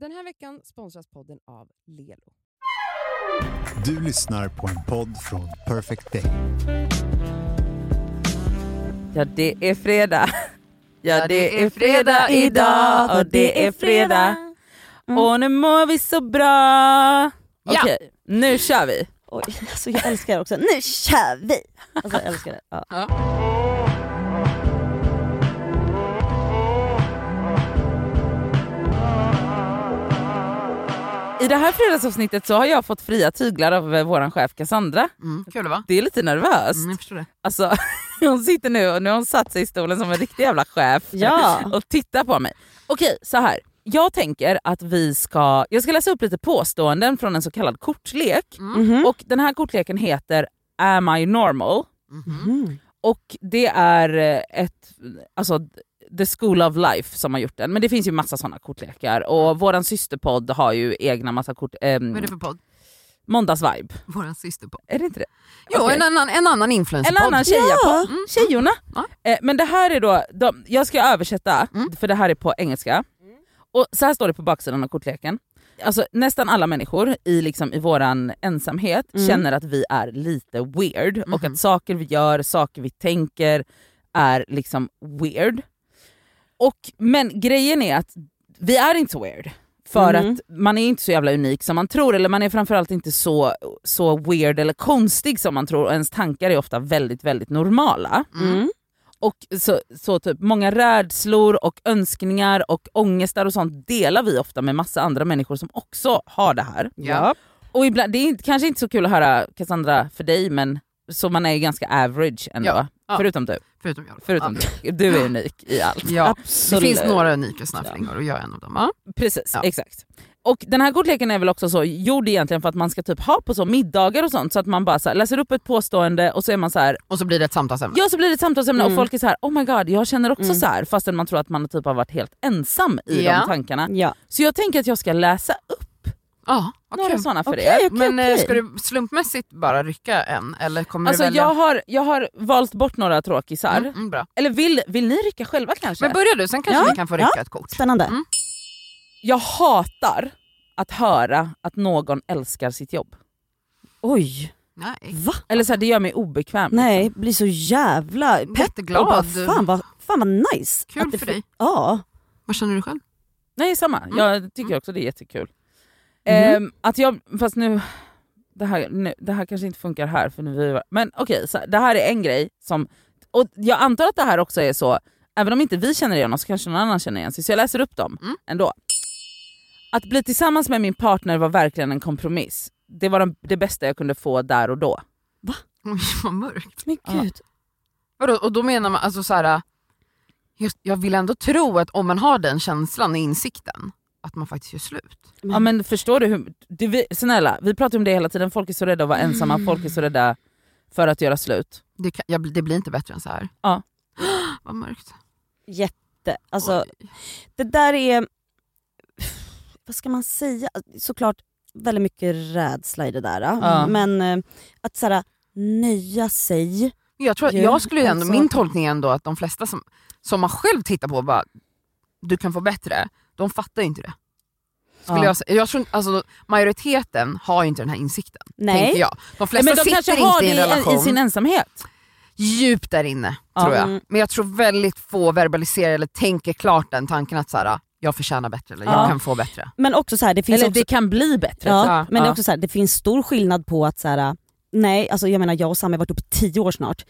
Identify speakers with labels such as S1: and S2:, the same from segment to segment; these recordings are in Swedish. S1: Den här veckan sponsras podden av Lelo.
S2: Du lyssnar på en podd från Perfect Day.
S3: Ja, det är fredag. Ja, det är fredag idag och det är fredag.
S4: Mm.
S3: Och nu mår vi så bra.
S4: Ja.
S3: Okej, nu kör vi.
S4: Oj, alltså jag älskar det också. Nu kör vi! Alltså jag älskar det. Ja.
S3: I det här fredagsavsnittet så har jag fått fria tyglar av eh, vår chef Cassandra.
S5: Mm, kul va?
S3: Det är lite nervöst.
S5: Mm, jag förstår det.
S3: Alltså, hon sitter nu och nu har hon satt sig i stolen som en riktig jävla chef
S4: Ja.
S3: och tittar på mig. Okej, så här. Jag tänker att vi ska, jag ska läsa upp lite påståenden från en så kallad kortlek.
S5: Mm.
S4: Mhm.
S3: Och den här kortleken heter Am I normal?
S5: Mhm.
S3: Mm-hmm.
S4: Mhm.
S3: Och det är eh, ett, alltså The School of Life som har gjort den. Men det finns ju massa sådana kortlekar. Och våran systerpodd har ju egna massa kort...
S5: Vad är
S3: Ehm,
S5: det för podd?
S3: måndagsvibe.
S5: Vår systerpodd.
S3: Är det inte det?
S5: Jo,
S3: Okej.
S5: en annan, en annan influencerpodd.
S3: En annan tjejapodd.
S5: Mm.
S3: Tjejorna.
S5: Ja.
S3: Eh, men det här är då, de, jag ska översätta
S5: Mm.
S3: för det här är på engelska. Och så här står det på baksidan av kortleken. Alltså nästan alla människor i, liksom, i våran ensamhet
S4: Mm.
S3: känner att vi är lite weird och
S5: Mhm.
S3: att saker vi gör, saker vi tänker är liksom weird. Och, men grejen är att vi är inte så weird. För
S5: Mm.
S4: Mhm.
S3: att man är inte så jävla unik som man tror, eller man är framförallt inte så, så weird eller konstig som man tror. Och ens tankar är ofta väldigt, väldigt normala.
S4: Mm.
S3: Och så, så typ, många rädslor och önskningar och ångestar och sånt delar vi ofta med massa andra människor som också har det här.
S5: Ja.
S3: Och ibland, det är inte, kanske inte så kul att höra Cassandra för dig, men så man är ju ganska average ändå.
S5: Ja. Ja.
S3: Förutom du.
S5: Förutom jag.
S3: Förutom
S5: ja.
S3: du. du är unik i allt.
S5: Ja. Det
S4: Absolut.
S5: finns några unika snafflingor och jag är en av dem. Ja.
S3: Precis,
S5: Ja.
S3: exakt. Och den här kortleken är väl också så gjord egentligen för att man ska typ ha på så middagar och sånt så att man bara så här, läser upp ett påstående och så är man så här,
S5: Och så blir det ett samtalsämne.
S3: ja så blir det ett samtalsämne
S4: Mm.
S3: och folk är så här, oh my god jag känner också
S4: Mm.
S3: så här fastän man tror att man typ har varit helt ensam i
S5: Ja.
S3: de tankarna.
S4: Ja.
S3: Så jag tänker att jag ska läsa upp
S5: Ja, vad
S3: några
S5: kul.
S3: sådana för
S4: Okej,
S3: er.
S4: okej,
S5: Men eh,
S4: okej.
S5: ska du slumpmässigt bara rycka en eller kommer
S3: Alltså
S5: du välja?
S3: jag har, jag har valt bort några tråkisar.
S5: Mm, mm, bra.
S3: Eller vill, vill ni rycka själva kanske?
S5: Men börja du, sen kanske
S4: Ja,
S5: vi kan få rycka ett kort.
S4: Spännande.
S5: Mm.
S3: jag hatar att höra att någon älskar sitt jobb.
S4: Oj,
S5: Nej.
S4: va?
S3: Eller så här, det gör mig obekväm.
S4: Nej, blir så jävla pepp och bara,
S5: Jätteglad.
S4: fan, vad, fan vad nice.
S5: Kul
S4: att det
S5: för
S4: fi-
S5: dig.
S4: Ja.
S5: Vad känner du själv?
S3: Nej samma,
S5: Mm.
S3: jag tycker också det är jättekul.
S4: Mhm.
S3: Ehm, att jag, fast nu det, här, nu, det här kanske inte funkar här för nu är vi, men okej, så här, det här är en grej som, och jag antar att det här också är så, även om inte vi känner igen oss så kanske någon annan känner igen sig, så jag läser upp dem
S5: Mm.
S3: ändå. Att bli tillsammans med min partner var verkligen en kompromiss. Det var de, det bästa jag kunde få där och då.
S5: Oj, vad mörkt.
S4: Men
S3: Ja.
S4: gud.
S5: Vadå, och då menar man alltså så här, jag, jag vill ändå tro att om man har den känslan och insikten, att man faktiskt gör slut.
S3: Ja men förstår du hur, du, vi, snälla vi pratar om det hela tiden, folk är så rädda att vara ensamma, folk är så rädda för att göra slut.
S5: Det, kan, jag, blir- det blir inte bättre än så här.
S3: Ja.
S5: Vad mörkt.
S4: Jätte, alltså
S5: Oj.
S4: det där är, vad ska man säga? Såklart väldigt mycket rädsla i det där.
S3: Ja.
S4: Men eh, att såhär nöja sig.
S5: Jag tror att
S4: Ja,
S5: jag skulle ju ändå,
S4: alltså-
S5: min tolkning är ändå att de flesta som, som man själv tittar på och bara, du kan få bättre, de fattar ju inte det. Skulle
S3: Ja.
S5: jag, säga. jag tror, inte- alltså, majoriteten har ju inte den här insikten, tänker
S4: Nej.
S5: jag. De flesta
S3: men de kanske
S5: sitter
S3: har
S5: inte
S3: det
S5: i en relation
S3: Alltså, i sin ensamhet.
S5: djupt där inne,
S3: Ja.
S5: tror jag.
S4: Mm.
S5: Men jag tror väldigt få verbaliserar eller tänker klart den tanken att så här, jag förtjänar bättre eller jag
S3: Ja.
S5: kan få bättre.
S4: Men också såhär, det finns
S3: Eller
S4: också
S3: det kan bli bättre.
S4: Ja,
S5: Ja,
S4: men
S3: ja.
S4: det är också så här, det finns stor skillnad på att så här, nej, alltså jag menar jag och Sam har varit ihop i tio år snart.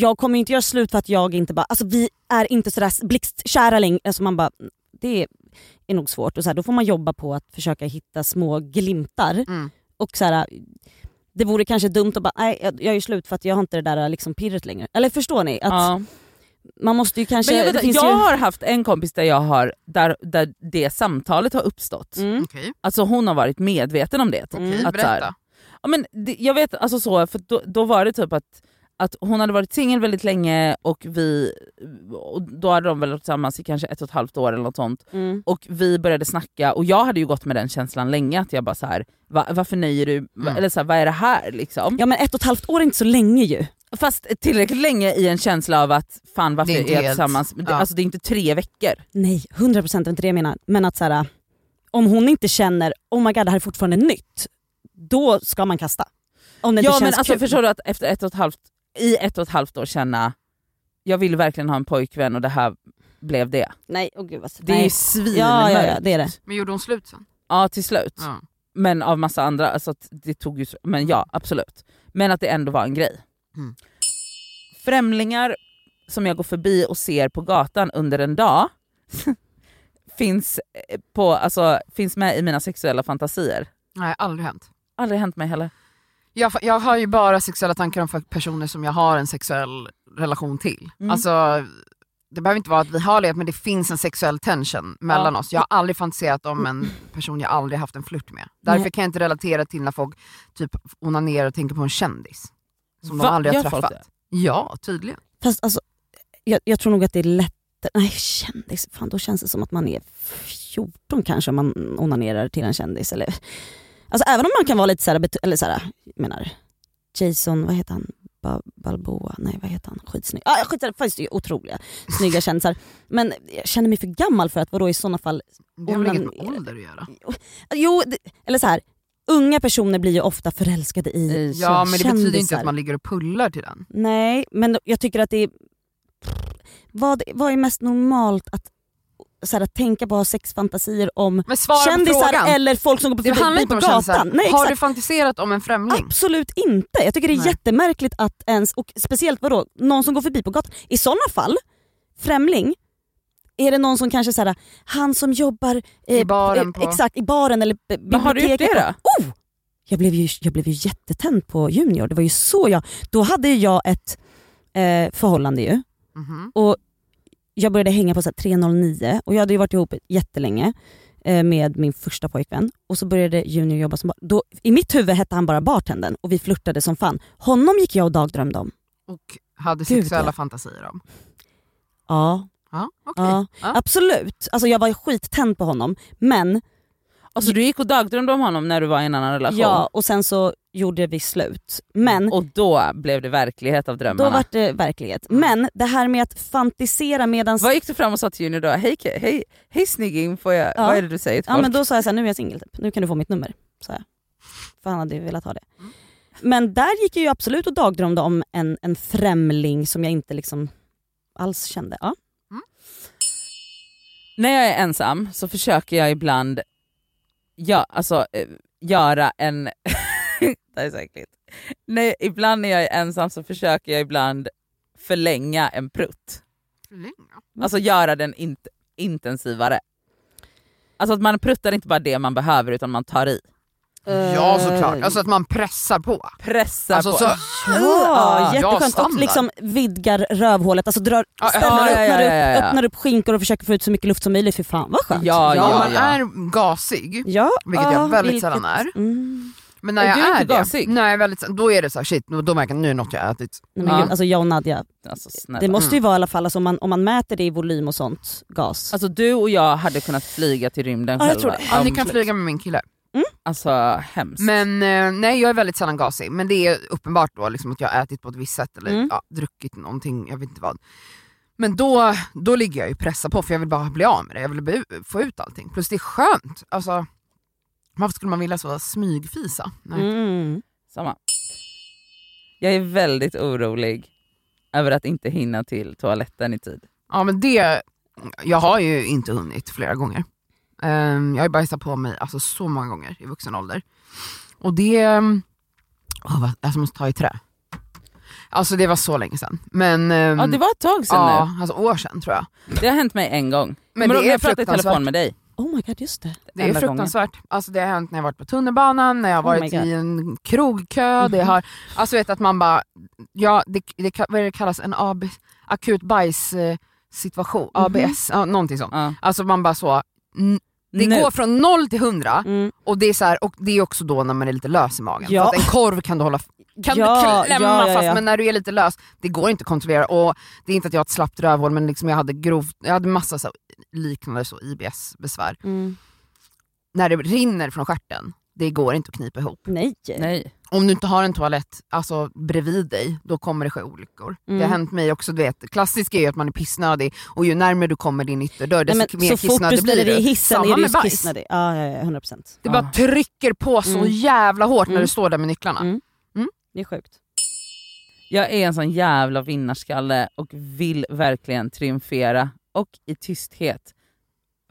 S4: Jag kommer ju inte göra slut för att jag inte bara, alltså vi är inte sådär blixtkära längre. Alltså man bara, det är nog svårt. Och så här, då får man jobba på att försöka hitta små glimtar.
S5: Mm.
S4: Och så här, det vore kanske dumt att bara, nej jag, jag är ju slut för att jag har inte det där liksom pirret längre. Eller förstår ni? Att
S3: Ja.
S4: Man måste ju kanske...
S3: Men jag, vet,
S4: det
S3: att
S4: finns
S3: jag
S4: ju,
S3: har haft en kompis där, jag har, där, där det samtalet har uppstått.
S4: mm,
S5: Okej,
S3: Alltså hon har varit medveten om det. Typ.
S4: Mm.
S5: okej,
S3: Att så här-
S5: berätta.
S3: Ja, men det, jag vet, alltså så, för då, då var det typ att, att hon hade varit singel väldigt länge och vi och då hade de väl varit tillsammans i kanske ett och ett halvt år eller något sånt.
S4: mm,
S3: Och vi började snacka och jag hade ju gått med den känslan länge att jag bara så här, va, varför nöjer du, va,
S5: Mm.
S3: eller så här, vad är det här liksom?
S4: ja men ett och ett halvt år är inte så länge ju.
S3: Fast tillräckligt länge i en känsla av att fan varför
S5: Det är
S3: är,
S5: inte
S3: jag
S5: helt-
S3: tillsammans? Det-
S5: ja.
S3: Alltså det är inte tre veckor.
S4: Nej, 100% procent inte det jag menar. Men att så här, om hon inte känner oh my god det här är fortfarande nytt, då ska man kasta. Om det
S3: Ja
S4: inte
S3: men
S4: känns
S3: alltså
S4: kul.
S3: förstår du att efter ett och ett halvt, i ett och ett halvt år känna jag vill verkligen ha en pojkvän och det här blev det.
S4: Nej, åh gud vad
S3: Det är
S4: nej.
S3: ju svinmörkt.
S4: Ja, ja, ja, det är det.
S5: Men gjorde hon slut sen?
S3: Ja, till slut.
S5: Ja.
S3: Men av massa andra, alltså att det tog ju, så- men ja absolut. Men att det ändå var en grej.
S5: Mm.
S3: Främlingar som jag går förbi och ser på gatan under en dag finns, eh, på, alltså, finns med i mina sexuella fantasier.
S5: Nej, aldrig hänt.
S3: Aldrig hänt mig heller.
S5: Jag, fa- jag har ju bara sexuella tankar om folk- personer som jag har en sexuell relation till.
S3: Mm.
S5: Alltså, det behöver inte vara att vi har det, men det finns en sexuell tension mellan oss. Jag har aldrig fantiserat om en person jag aldrig haft en flört med. Därför
S4: Nej.
S5: kan jag inte relatera till när folk typ onanerar och tänker på en kändis. Som
S3: Va?
S5: de aldrig har
S3: Gör folk
S5: träffat. Ja, tydligen.
S4: Fast alltså, jag, jag tror nog att det är lättare, nej kändis, fan då känns det som att man är 14 kanske om man onanerar till en kändis. Eller, alltså även om man kan vara lite såhär, bet- eller såhär, jag menar Jason, vad heter han? Ba- Balboa, nej vad heter han? Skitsnygg. Ah, skitsamma, faktiskt det är ju otroliga snygga kändisar. Men jag känner mig för gammal för att vadå i sådana fall
S5: Det har väl inget med
S4: Onanerar.
S5: ålder att göra?
S4: Jo, det, eller så här. unga personer blir ju ofta förälskade i
S3: I-
S5: Ja, men det betyder inte
S4: kändisar.
S5: att man ligger och pullar till den.
S4: Nej, men jag tycker att det är... Vad, vad är mest normalt att, så här, att tänka på att ha sexfantasier om
S5: Men svara på
S4: kändisar
S5: frågan.
S4: eller folk som går på,
S5: Det handlar
S4: förbi,
S5: inte
S4: på
S5: om
S4: gatan?
S5: kändisar.
S4: Nej,
S5: har
S4: exakt.
S5: du fantiserat om en främling?
S4: Absolut inte. Jag tycker det är
S5: Nej.
S4: jättemärkligt att ens, och speciellt vadå, någon som går förbi på gatan. I sådana fall, främling, är det någon som kanske såhär, han som jobbar eh,
S5: I baren på-
S4: Exakt, i baren eller b-
S3: Men har du gjort
S4: biblioteket.
S3: det då?
S4: Oh! Jag blev, ju, jag blev ju jättetänd på Junior. Det var ju så jag... Då hade ju jag ett eh, förhållande ju.
S5: Mhm.
S4: Jag började hänga på så här 309 och jag hade ju varit ihop jättelänge eh, med min första pojkvän. Och så började Junior jobba som bar- då, I mitt huvud hette han bara bartenden och vi flörtade som fan. Honom gick jag och dagdrömde om.
S5: Och hade
S4: Gud,
S5: sexuella
S4: ja.
S5: fantasier om.
S4: Ja,
S5: Ja, okej.
S4: ja.
S5: Ja.
S4: absolut. Alltså jag var skittänd på honom. Men
S3: Alltså du gick och dagdrömde om honom när du var i en annan relation?
S4: ja, och sen så gjorde vi slut. Men
S3: Och då blev det verklighet av drömmarna?
S4: då var det verklighet. Men det här med att fantisera medans...
S3: Vad gick du fram och sa till Junior då? Hej, Ke- hej, hej snygging, får jag,
S4: Ja.
S3: vad är det du säger till
S4: Ja
S3: folk?
S4: men då sa jag såhär, nu är jag singel typ. nu kan du få mitt nummer. Så här. För han hade ju velat ha det.
S5: Mm.
S4: Men där gick jag ju absolut och dagdrömde om en, en främling som jag inte liksom alls kände. Ja.
S3: När jag är ensam så försöker jag ibland ja, alltså, eh, göra en... det här är så äckligt. Nej, ibland när jag är ensam så försöker jag ibland förlänga en prutt.
S5: Länge.
S3: Alltså göra den int- intensivare. Alltså att man pruttar inte bara det man behöver utan man tar i.
S5: Ja såklart, alltså att man pressar på.
S3: Eh, Pressar
S5: Alltså,
S3: på.
S5: så,
S4: Ja,
S5: Ja,
S4: jätteskönt. och
S5: standard.
S4: liksom vidgar rövhålet, alltså drar,
S5: Ja,
S4: ställer,
S5: ja,
S3: ja,
S4: öppnar,
S3: ja, ja,
S4: upp,
S3: ja.
S4: öppnar upp skinkor och försöker få ut så mycket luft som möjligt. Fy fan vad
S3: ja,
S4: skönt.
S3: ja,
S5: ja, om man
S3: ja.
S5: är gasig,
S4: Ja,
S5: vilket
S4: ja,
S5: jag väldigt
S4: vilket-
S5: sällan är.
S4: Mm.
S5: Men när
S3: Är
S5: jag
S3: du
S5: är
S3: inte
S5: det,
S3: gasig?
S5: nej, väldigt, sällan. då är det så här, shit, nu- då märker jag nu är det något jag ätit.
S4: Nej, men
S3: Ja.
S4: gud, alltså jag och Nadja,
S3: Alltså, snälla.
S4: det
S5: Mm.
S4: måste ju vara i alla fall, alltså, om, man, om man mäter det i volym och sånt, gas.
S3: Alltså du och jag hade kunnat flyga till rymden
S4: Ja, jag
S3: själva.
S4: tror det.
S5: Ja, ni
S3: Om-
S5: kan flyga med min kille.
S3: Alltså hemskt.
S5: Men eh, nej jag är väldigt sällan gasig, men det är uppenbart då liksom, att jag har ätit på ett visst sätt eller
S4: Mm.
S5: ja, druckit någonting, jag vet inte vad. Men då, då ligger jag ju pressad på för jag vill bara bli av med det, jag vill bli, få ut allting. Plus det är skönt, alltså, varför skulle man vilja så smygfisa? Nej.
S4: Mm.
S3: Samma. Jag är väldigt orolig över att inte hinna till toaletten i tid.
S5: Ja men det, jag har ju inte hunnit flera gånger. Ehm, jag har ju bajsat på mig alltså, så många gånger i vuxen ålder. Och det, ehm, åh, vad- alltså, jag måste ta i trä. Alltså det var så länge sedan. Men, ehm,
S3: Ja det var ett tag sedan
S5: ja, alltså år sedan tror jag.
S3: nu. Det har hänt mig en gång.
S5: Men
S3: Men,
S5: det
S3: då,
S5: är
S3: jag pratade i
S5: fruktansvärt.
S3: telefon med dig.
S4: Oh my god, just det.
S5: Det är
S3: Enda gången.
S5: fruktansvärt. Alltså det har hänt när jag varit på tunnelbanan, när jag har
S4: Oh my
S5: varit
S4: God.
S5: i en krogkö.
S3: Mm-hmm.
S5: Det har, alltså vet att man bara, ja, det, det, ka- vad är det kallas, en AB, akut eh, bajssituation,
S3: Mm-hmm.
S5: ABS, ja, någonting sånt.
S3: Ja.
S5: Alltså man bara så, n- det
S3: Nu.
S5: går från noll till hundra
S4: Mm.
S5: och det är så här, och det är också då när man är lite lös i magen.
S4: Ja.
S5: För att en korv kan du hålla kan
S4: Ja,
S5: du klämma
S4: ja, ja,
S5: fast
S4: ja.
S5: men när du är lite lös, det går inte att kontrollera. Och det är inte att jag har ett slappt rövhål men liksom jag hade grovt, jag hade massa så, liknande så IBS-besvär.
S4: Mm.
S5: när det rinner från stjärten, det går inte att knipa ihop.
S4: Nej.
S3: Nej.
S5: om du inte har en toalett alltså, bredvid dig, då kommer det ske olyckor.
S4: Mm.
S5: Det har hänt mig också. Du vet, klassiskt är ju att man är pissnödig och ju närmare du kommer din ytterdörr
S4: Nej,
S5: desto
S4: men,
S5: mer
S4: så fort du
S5: kissnödig
S4: ställer
S5: blir
S4: dig
S5: du.
S4: i hissen
S5: Samma
S4: är du
S5: med
S4: ju
S5: bajs.
S4: kissnödig. Ja, ja, ja, 100%.
S5: Det
S3: Ja.
S5: bara trycker på så
S4: Ah. Mm.
S5: jävla hårt när
S4: Mm.
S5: du står där med nycklarna.
S4: Mm. Det är sjukt.
S3: Jag är en sån jävla vinnarskalle och vill verkligen triumfera och i tysthet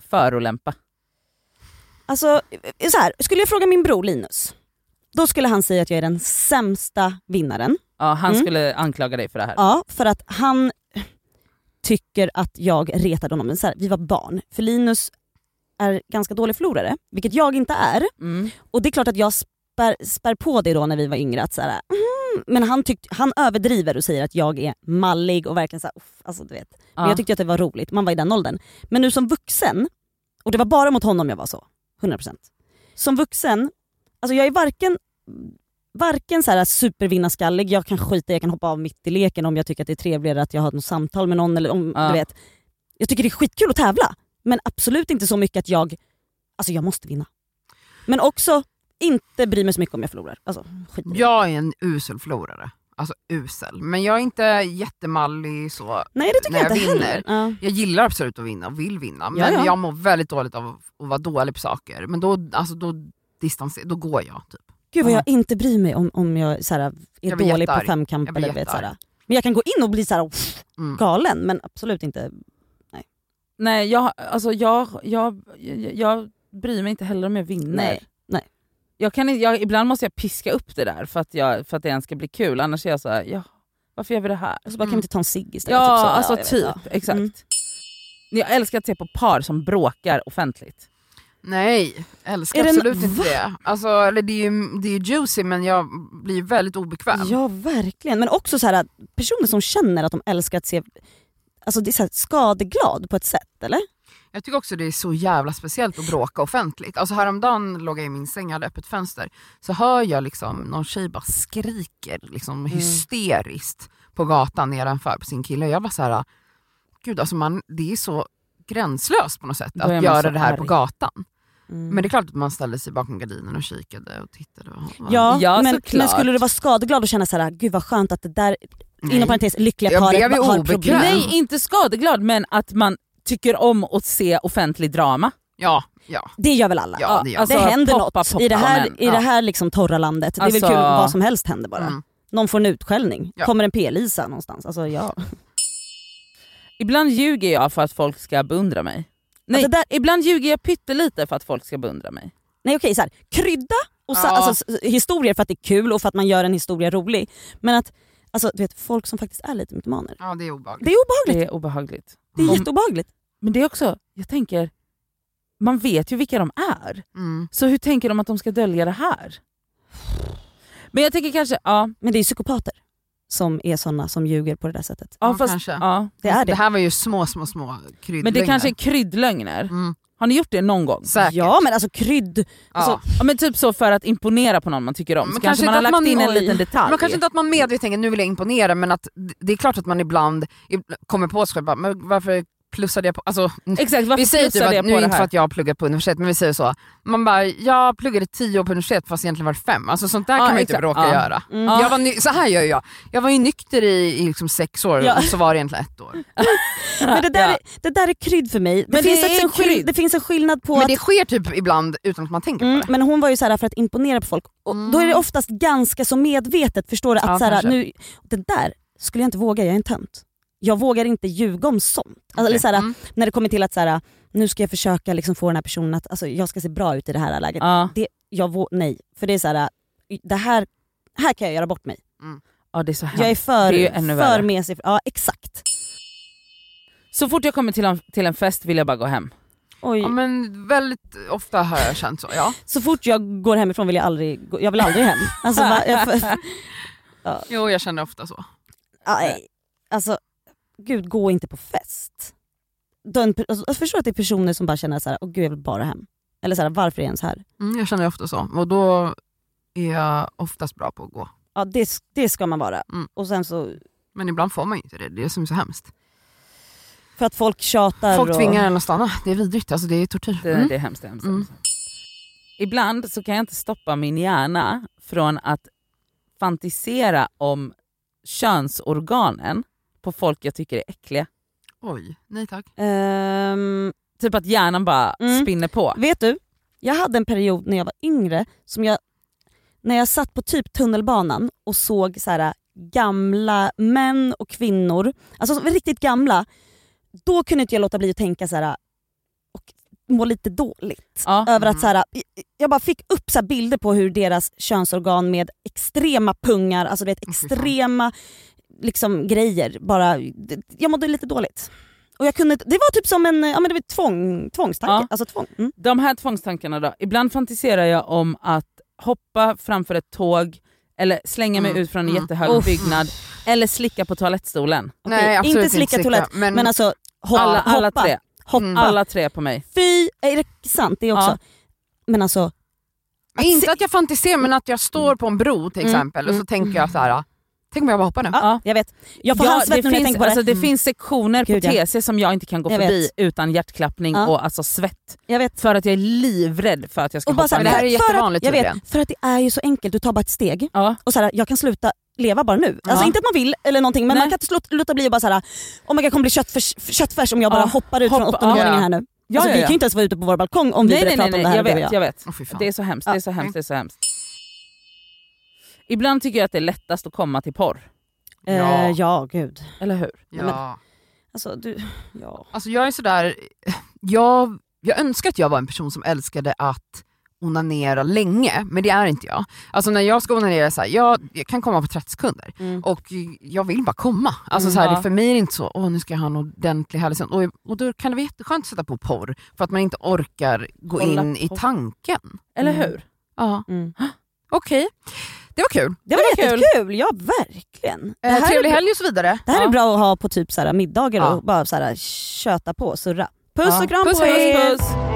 S3: förolämpa.
S4: Alltså, så här, skulle jag fråga min bror Linus, då skulle han säga att jag är den sämsta vinnaren.
S3: Ja, han
S4: Mm.
S3: skulle anklaga dig för det här.
S4: Ja, för att han tycker att jag retade honom. Men så här, vi var barn, för Linus är ganska dålig förlorare, vilket jag inte är.
S3: Mm.
S4: Och det är klart att jag spär, spär på det då när vi var yngre. Att så här, mm, men han, tyckt, han överdriver och säger att jag är mallig och verkligen så här, uff, alltså du vet. Men
S3: Ja.
S4: jag tyckte att det var roligt, man var i den åldern. Men nu som vuxen, och det var bara mot honom jag var så, 100%. Som vuxen, alltså jag är varken, varken så här supervinnarskallig, jag kan skita jag kan hoppa av mitt i leken om jag tycker att det är trevligare att jag har något samtal med någon. Eller om,
S3: Ja.
S4: du vet. Jag tycker det är skitkul att tävla, men absolut inte så mycket att jag, alltså jag måste vinna. Men också inte bry mig så mycket om jag förlorar. Alltså, skit i det.
S5: Jag är en usel förlorare. Alltså usel. Men jag är inte jättemallig så.
S4: Nej det tycker
S5: När
S4: jag
S5: jag
S4: inte
S5: vinner.
S4: heller. Ja.
S5: Jag gillar absolut att vinna och vill vinna. Men
S4: Ja, ja.
S5: jag mår väldigt dåligt av att vara dålig på saker. Men då, alltså, då, distanser, då går jag. Typ.
S4: Gud vad
S3: Ja.
S4: jag inte bryr mig om, om jag så här, är
S5: Jag blir
S4: dålig
S5: jättearg.
S4: på femkamp
S5: Jag blir
S4: eller vet, så här.
S5: jättearg.
S4: Men jag kan gå in och bli så här, pff,
S5: Mm.
S4: galen men absolut inte.
S3: Nej, jag, alltså jag, jag, jag, jag bryr mig inte heller om jag vinner.
S4: Nej, nej.
S3: Jag kan, inte- jag, ibland måste jag piska upp det där för att, jag, för att det ens ska bli kul. Annars är jag så här, ja, varför gör vi det här?
S4: Och så Alltså, bara, kan
S5: Mm.
S4: vi inte ta en cigg istället?
S3: Ja,
S4: typ så.
S3: alltså
S4: jag vet,
S3: typ.
S4: ja.
S3: Exakt.
S4: Mm.
S3: Jag älskar att se på par som bråkar offentligt.
S5: Nej, älskar
S4: Är det en-
S5: absolut inte det. Alltså, eller det, är ju, det är ju juicy men jag blir väldigt obekväm.
S4: Ja verkligen. Men också så här, att personer som känner att de älskar att se Alltså det är så här skadeglad på ett sätt eller?
S5: Jag tycker också det är så jävla speciellt att bråka offentligt. Alltså häromdagen låg jag i min säng, jag hade öppet fönster. Så hör jag liksom någon tjej bara skriker liksom hysteriskt på gatan nedanför på sin kille. Jag var så här, gud alltså man, det är så gränslöst på något sätt
S3: Då är man
S5: att
S3: så
S5: göra det här på
S3: arg.
S5: gatan.
S4: Mm.
S5: Men det är klart att man ställde sig bakom gardinen och kikade och tittade. Och,
S4: ja,
S3: Ja,
S4: men,
S3: såklart.
S4: men skulle du vara skadeglad och känna så här, gud vad skönt att det där,
S5: Nej.
S4: inom parentes, lyckliga
S5: Jag
S4: paret
S5: blev ju
S4: har
S5: obekväm.
S4: problem.
S3: Nej, inte skadeglad men att man tycker om att se offentlig drama.
S5: ja, ja.
S4: Det gör väl alla?
S5: Ja, det gör
S4: det
S3: Alltså,
S4: händer
S3: poppa
S4: något i det här,
S3: popcornen.
S4: i det
S5: Ja.
S4: här liksom torra landet. Det är
S3: Alltså-
S4: väl kul, vad som helst händer bara.
S5: Mm.
S4: Någon får en utskällning,
S5: Ja.
S4: kommer en p-Lisa någonstans. Alltså, ja.
S3: Ibland ljuger jag för att folk ska beundra mig. Nej,
S4: det Alltså, där-
S3: ibland ljuger jag pyttelite för att folk ska beundra mig.
S4: Nej okej, så här, krydda och sa,
S5: Ja.
S4: alltså, s- historier för att det är kul och för att man gör en historia rolig. Men att alltså, du vet, folk som faktiskt är lite mytomaner.
S5: ja, det är obehagligt.
S4: Det är obehagligt.
S3: Det är obehagligt.
S4: Det är
S3: Om-
S4: jätteobehagligt.
S3: Men det är också, jag tänker, man vet ju vilka de är.
S5: Mm.
S3: Så hur tänker de att de ska dölja det här? Men jag tänker kanske, ja,
S4: Men det är ju psykopater som är sådana som ljuger på det där sättet.
S3: ja,
S5: Ja,
S3: fast,
S5: kanske.
S3: ja.
S4: Det är
S5: Det
S4: det.
S5: här var ju små, små, små kryddlögner.
S3: Men det kanske är kryddlögner.
S5: Mm.
S3: Har ni gjort det någon gång?
S5: Säkert.
S4: Ja men alltså krydd...
S5: Ja.
S3: Ja, men typ så för att imponera på någon man tycker om.
S5: Men
S3: Så kanske,
S5: kanske
S3: man
S5: inte
S3: har
S5: att
S3: lagt
S5: man-
S3: in en
S5: oj.
S3: liten detalj.
S5: Man kanske inte att man medvetet tänker nu vill jag imponera men att d- det är klart att man ibland ib- kommer på sig själv bara, men varför plussade jag på? Alltså,
S3: Exakt, varför
S5: vi säger typ
S3: plussade jag
S5: att,
S3: på
S5: nu är
S3: det
S5: det inte för
S3: här?
S5: att jag har pluggat på universitet men vi säger så. Man bara, jag pluggade tio år på universitet fast egentligen var det fem. Alltså sånt där
S3: Ja,
S5: kan man ju
S3: exakt.
S5: typ råka
S3: Ja.
S5: göra.
S4: Mm.
S3: Ja.
S5: Jag var ny- så här gör jag. Jag var ju nykter i, i liksom sex år
S4: Ja.
S5: och så var det egentligen ett år.
S4: Men det där,
S3: Ja.
S4: är, det där är krydd för mig. Det,
S3: Men
S4: finns,
S3: det är
S4: också en
S3: krydd.
S4: skill- det finns en skillnad på
S5: Men
S4: att
S5: det sker typ ibland utan att man tänker
S4: Mm,
S5: på det.
S4: men hon var ju så här för att imponera på folk. Och
S3: Mm.
S4: Då är det oftast ganska så medvetet. Förstår du? Att
S5: Ja,
S4: så här,
S5: kanske.
S4: nu, det där skulle jag inte våga, jag är en tönt. Jag vågar inte ljuga om sånt. Alltså, eller så här,
S5: Mm.
S4: När det kommer till att så här, nu ska jag försöka liksom få den här personen att alltså, jag ska se bra ut i det här läget.
S3: Ja.
S4: Det, jag vå- nej, för det är så här, det här, här kan jag göra bort mig.
S3: ja, det är så hemskt.
S4: Jag är för,
S3: Det är ju ännu
S4: för
S3: värre.
S4: mesig. Ja exakt.
S3: Så fort jag kommer till en, till en fest vill jag bara gå hem.
S4: Oj.
S5: Ja, men väldigt ofta har jag känt så. Ja.
S4: Så fort jag går hemifrån vill jag aldrig, gå- jag vill aldrig hem. Alltså, va, jag,
S5: Jo jag känner ofta så.
S4: Nej. Alltså, gud gå inte på fest. Den, alltså, jag förstår att det är personer som bara känner så här, åh gud jag vill bara hem. Eller så här, varför är jag ens här?
S5: Mm, jag känner ofta så. Och då är jag oftast bra på att gå.
S4: Ja det, det ska man vara.
S5: Mm.
S4: Och sen så,
S5: Men ibland får man ju inte det, det är som är så hemskt.
S4: för att folk tjatar
S5: Folk
S4: och...
S5: tvingar en att stanna, det är vidrigt, alltså det är tortyr.
S3: Det,
S5: Mm.
S3: det är hemskt. hemskt,
S5: Mm.
S3: hemskt. Ibland så kan jag inte stoppa min hjärna från att fantisera om könsorganen på folk jag tycker är äckliga.
S5: Oj, nej tack.
S4: Ehm,
S3: Typ att hjärnan bara
S4: Mm.
S3: spinner på.
S4: Vet du, jag hade en period när jag var yngre som jag, när jag satt på typ tunnelbanan och såg så här, gamla män och kvinnor, alltså som var riktigt gamla, då kunde inte jag låta bli att tänka så här och må lite dåligt.
S3: Ja.
S4: Över
S5: Mm.
S4: att så här, jag bara fick upp så här bilder på hur deras könsorgan med extrema pungar, alltså du vet,
S5: fy fan.
S4: extrema liksom, grejer, bara, jag mådde lite dåligt. Och jag kunde, det var typ som en ja, men det var tvång, tvångstanke.
S3: Ja.
S4: Alltså, tvång. Mm.
S3: De här tvångstankarna då. Ibland fantiserar jag om att hoppa framför ett tåg eller slänga mig
S5: Mm,
S3: ut från en
S5: mm.
S3: jättehög
S4: Uff.
S3: byggnad eller slicka på toalettstolen.
S4: Okej, inte slicka toalett,
S5: men,
S4: Men alltså hoppa,
S3: alla, alla
S4: hoppa,
S3: tre.
S4: hoppa.
S5: Mm.
S3: Alla tre på mig.
S4: Fy, är det sant? Det är också.
S3: Ja.
S4: Men alltså, att
S5: inte
S4: se-
S5: att jag fantiserar men att jag står på en bro till
S4: Mm,
S5: exempel och
S4: mm.
S5: så tänker jag så här. tänk om jag bara hoppar nu.
S4: ja,
S3: Ja.
S4: jag vet. Jag får handsvett
S3: det
S4: nu när jag
S3: finns,
S4: tänker på det.
S3: alltså, det
S5: Mm.
S3: finns sektioner
S4: Gud,
S3: på
S4: ja.
S3: TC som jag inte kan gå
S4: Jag
S3: förbi
S4: vet.
S3: utan hjärtklappning
S4: Ja.
S3: och alltså svett.
S4: jag vet.
S3: För att jag är livrädd för att jag ska
S4: Och bara
S3: hoppa
S4: så här,
S5: Men det här
S4: för-
S5: är
S4: för att-
S5: jättevanligt
S4: jag
S5: tydligen.
S4: vet, För att det är ju så enkelt, du tar bara ett steg
S3: Ja.
S4: och så här, jag kan sluta leva bara nu. Alltså
S3: Ja.
S4: inte att man vill eller någonting men
S3: Nej.
S4: man kan inte slå- låta bli och bara såhär, oh my God, jag kommer bli köttfärs, köttfärs om jag bara
S3: Ja.
S4: hoppar ut från
S3: Hoppa-
S4: åttondeåringen
S5: ja.
S4: här nu.
S3: Ja,
S4: alltså,
S3: ja,
S4: Vi
S3: ja.
S4: kan ju inte ens vara ute på vår balkong om vi
S3: Nej, nej,
S4: börjar prata
S3: nej, nej.
S4: om det här.
S3: jag
S4: du och
S3: vet. Jag vet.
S5: Åh, fy fan.
S3: Det är så hemskt, det är så hemskt, det är så hemskt. Ibland tycker jag att det är lättast att komma till porr,
S4: Eh,
S5: Ja.
S4: ja gud.
S3: eller hur?
S5: ja.
S4: Alltså, du, ja.
S5: Alltså jag är sådär, jag, jag önskar att jag var en person som älskade att onanera länge, men det är inte jag. Alltså när jag ska onanera, så här, jag, jag kan komma på 30 sekunder
S4: Mm.
S5: och jag vill bara komma. Alltså
S3: Mm,
S5: så här,
S3: ja.
S5: det- För mig är det inte så, åh nu ska jag ha en ordentlig härlig stund. Och, och då kan det vara jätteskönt att sätta på porr, för att man inte orkar gå
S3: Kolla
S5: in i
S3: på.
S5: tanken.
S3: Eller
S4: Mm.
S3: hur?
S5: Ja,
S4: Mm.
S5: Okej, det var kul.
S4: Det var,
S3: var kul.
S4: jättekul, ja verkligen. Det
S5: Eh,
S4: här är
S5: trevlig
S4: bra.
S5: helg och så vidare.
S4: Det här
S3: Ja.
S4: är bra att ha på typ så här middagar
S5: Ja.
S4: och bara så här köta på och surra. Puss
S3: Ja.
S4: och kram
S5: Puss,
S4: på er!
S5: hej.
S3: puss.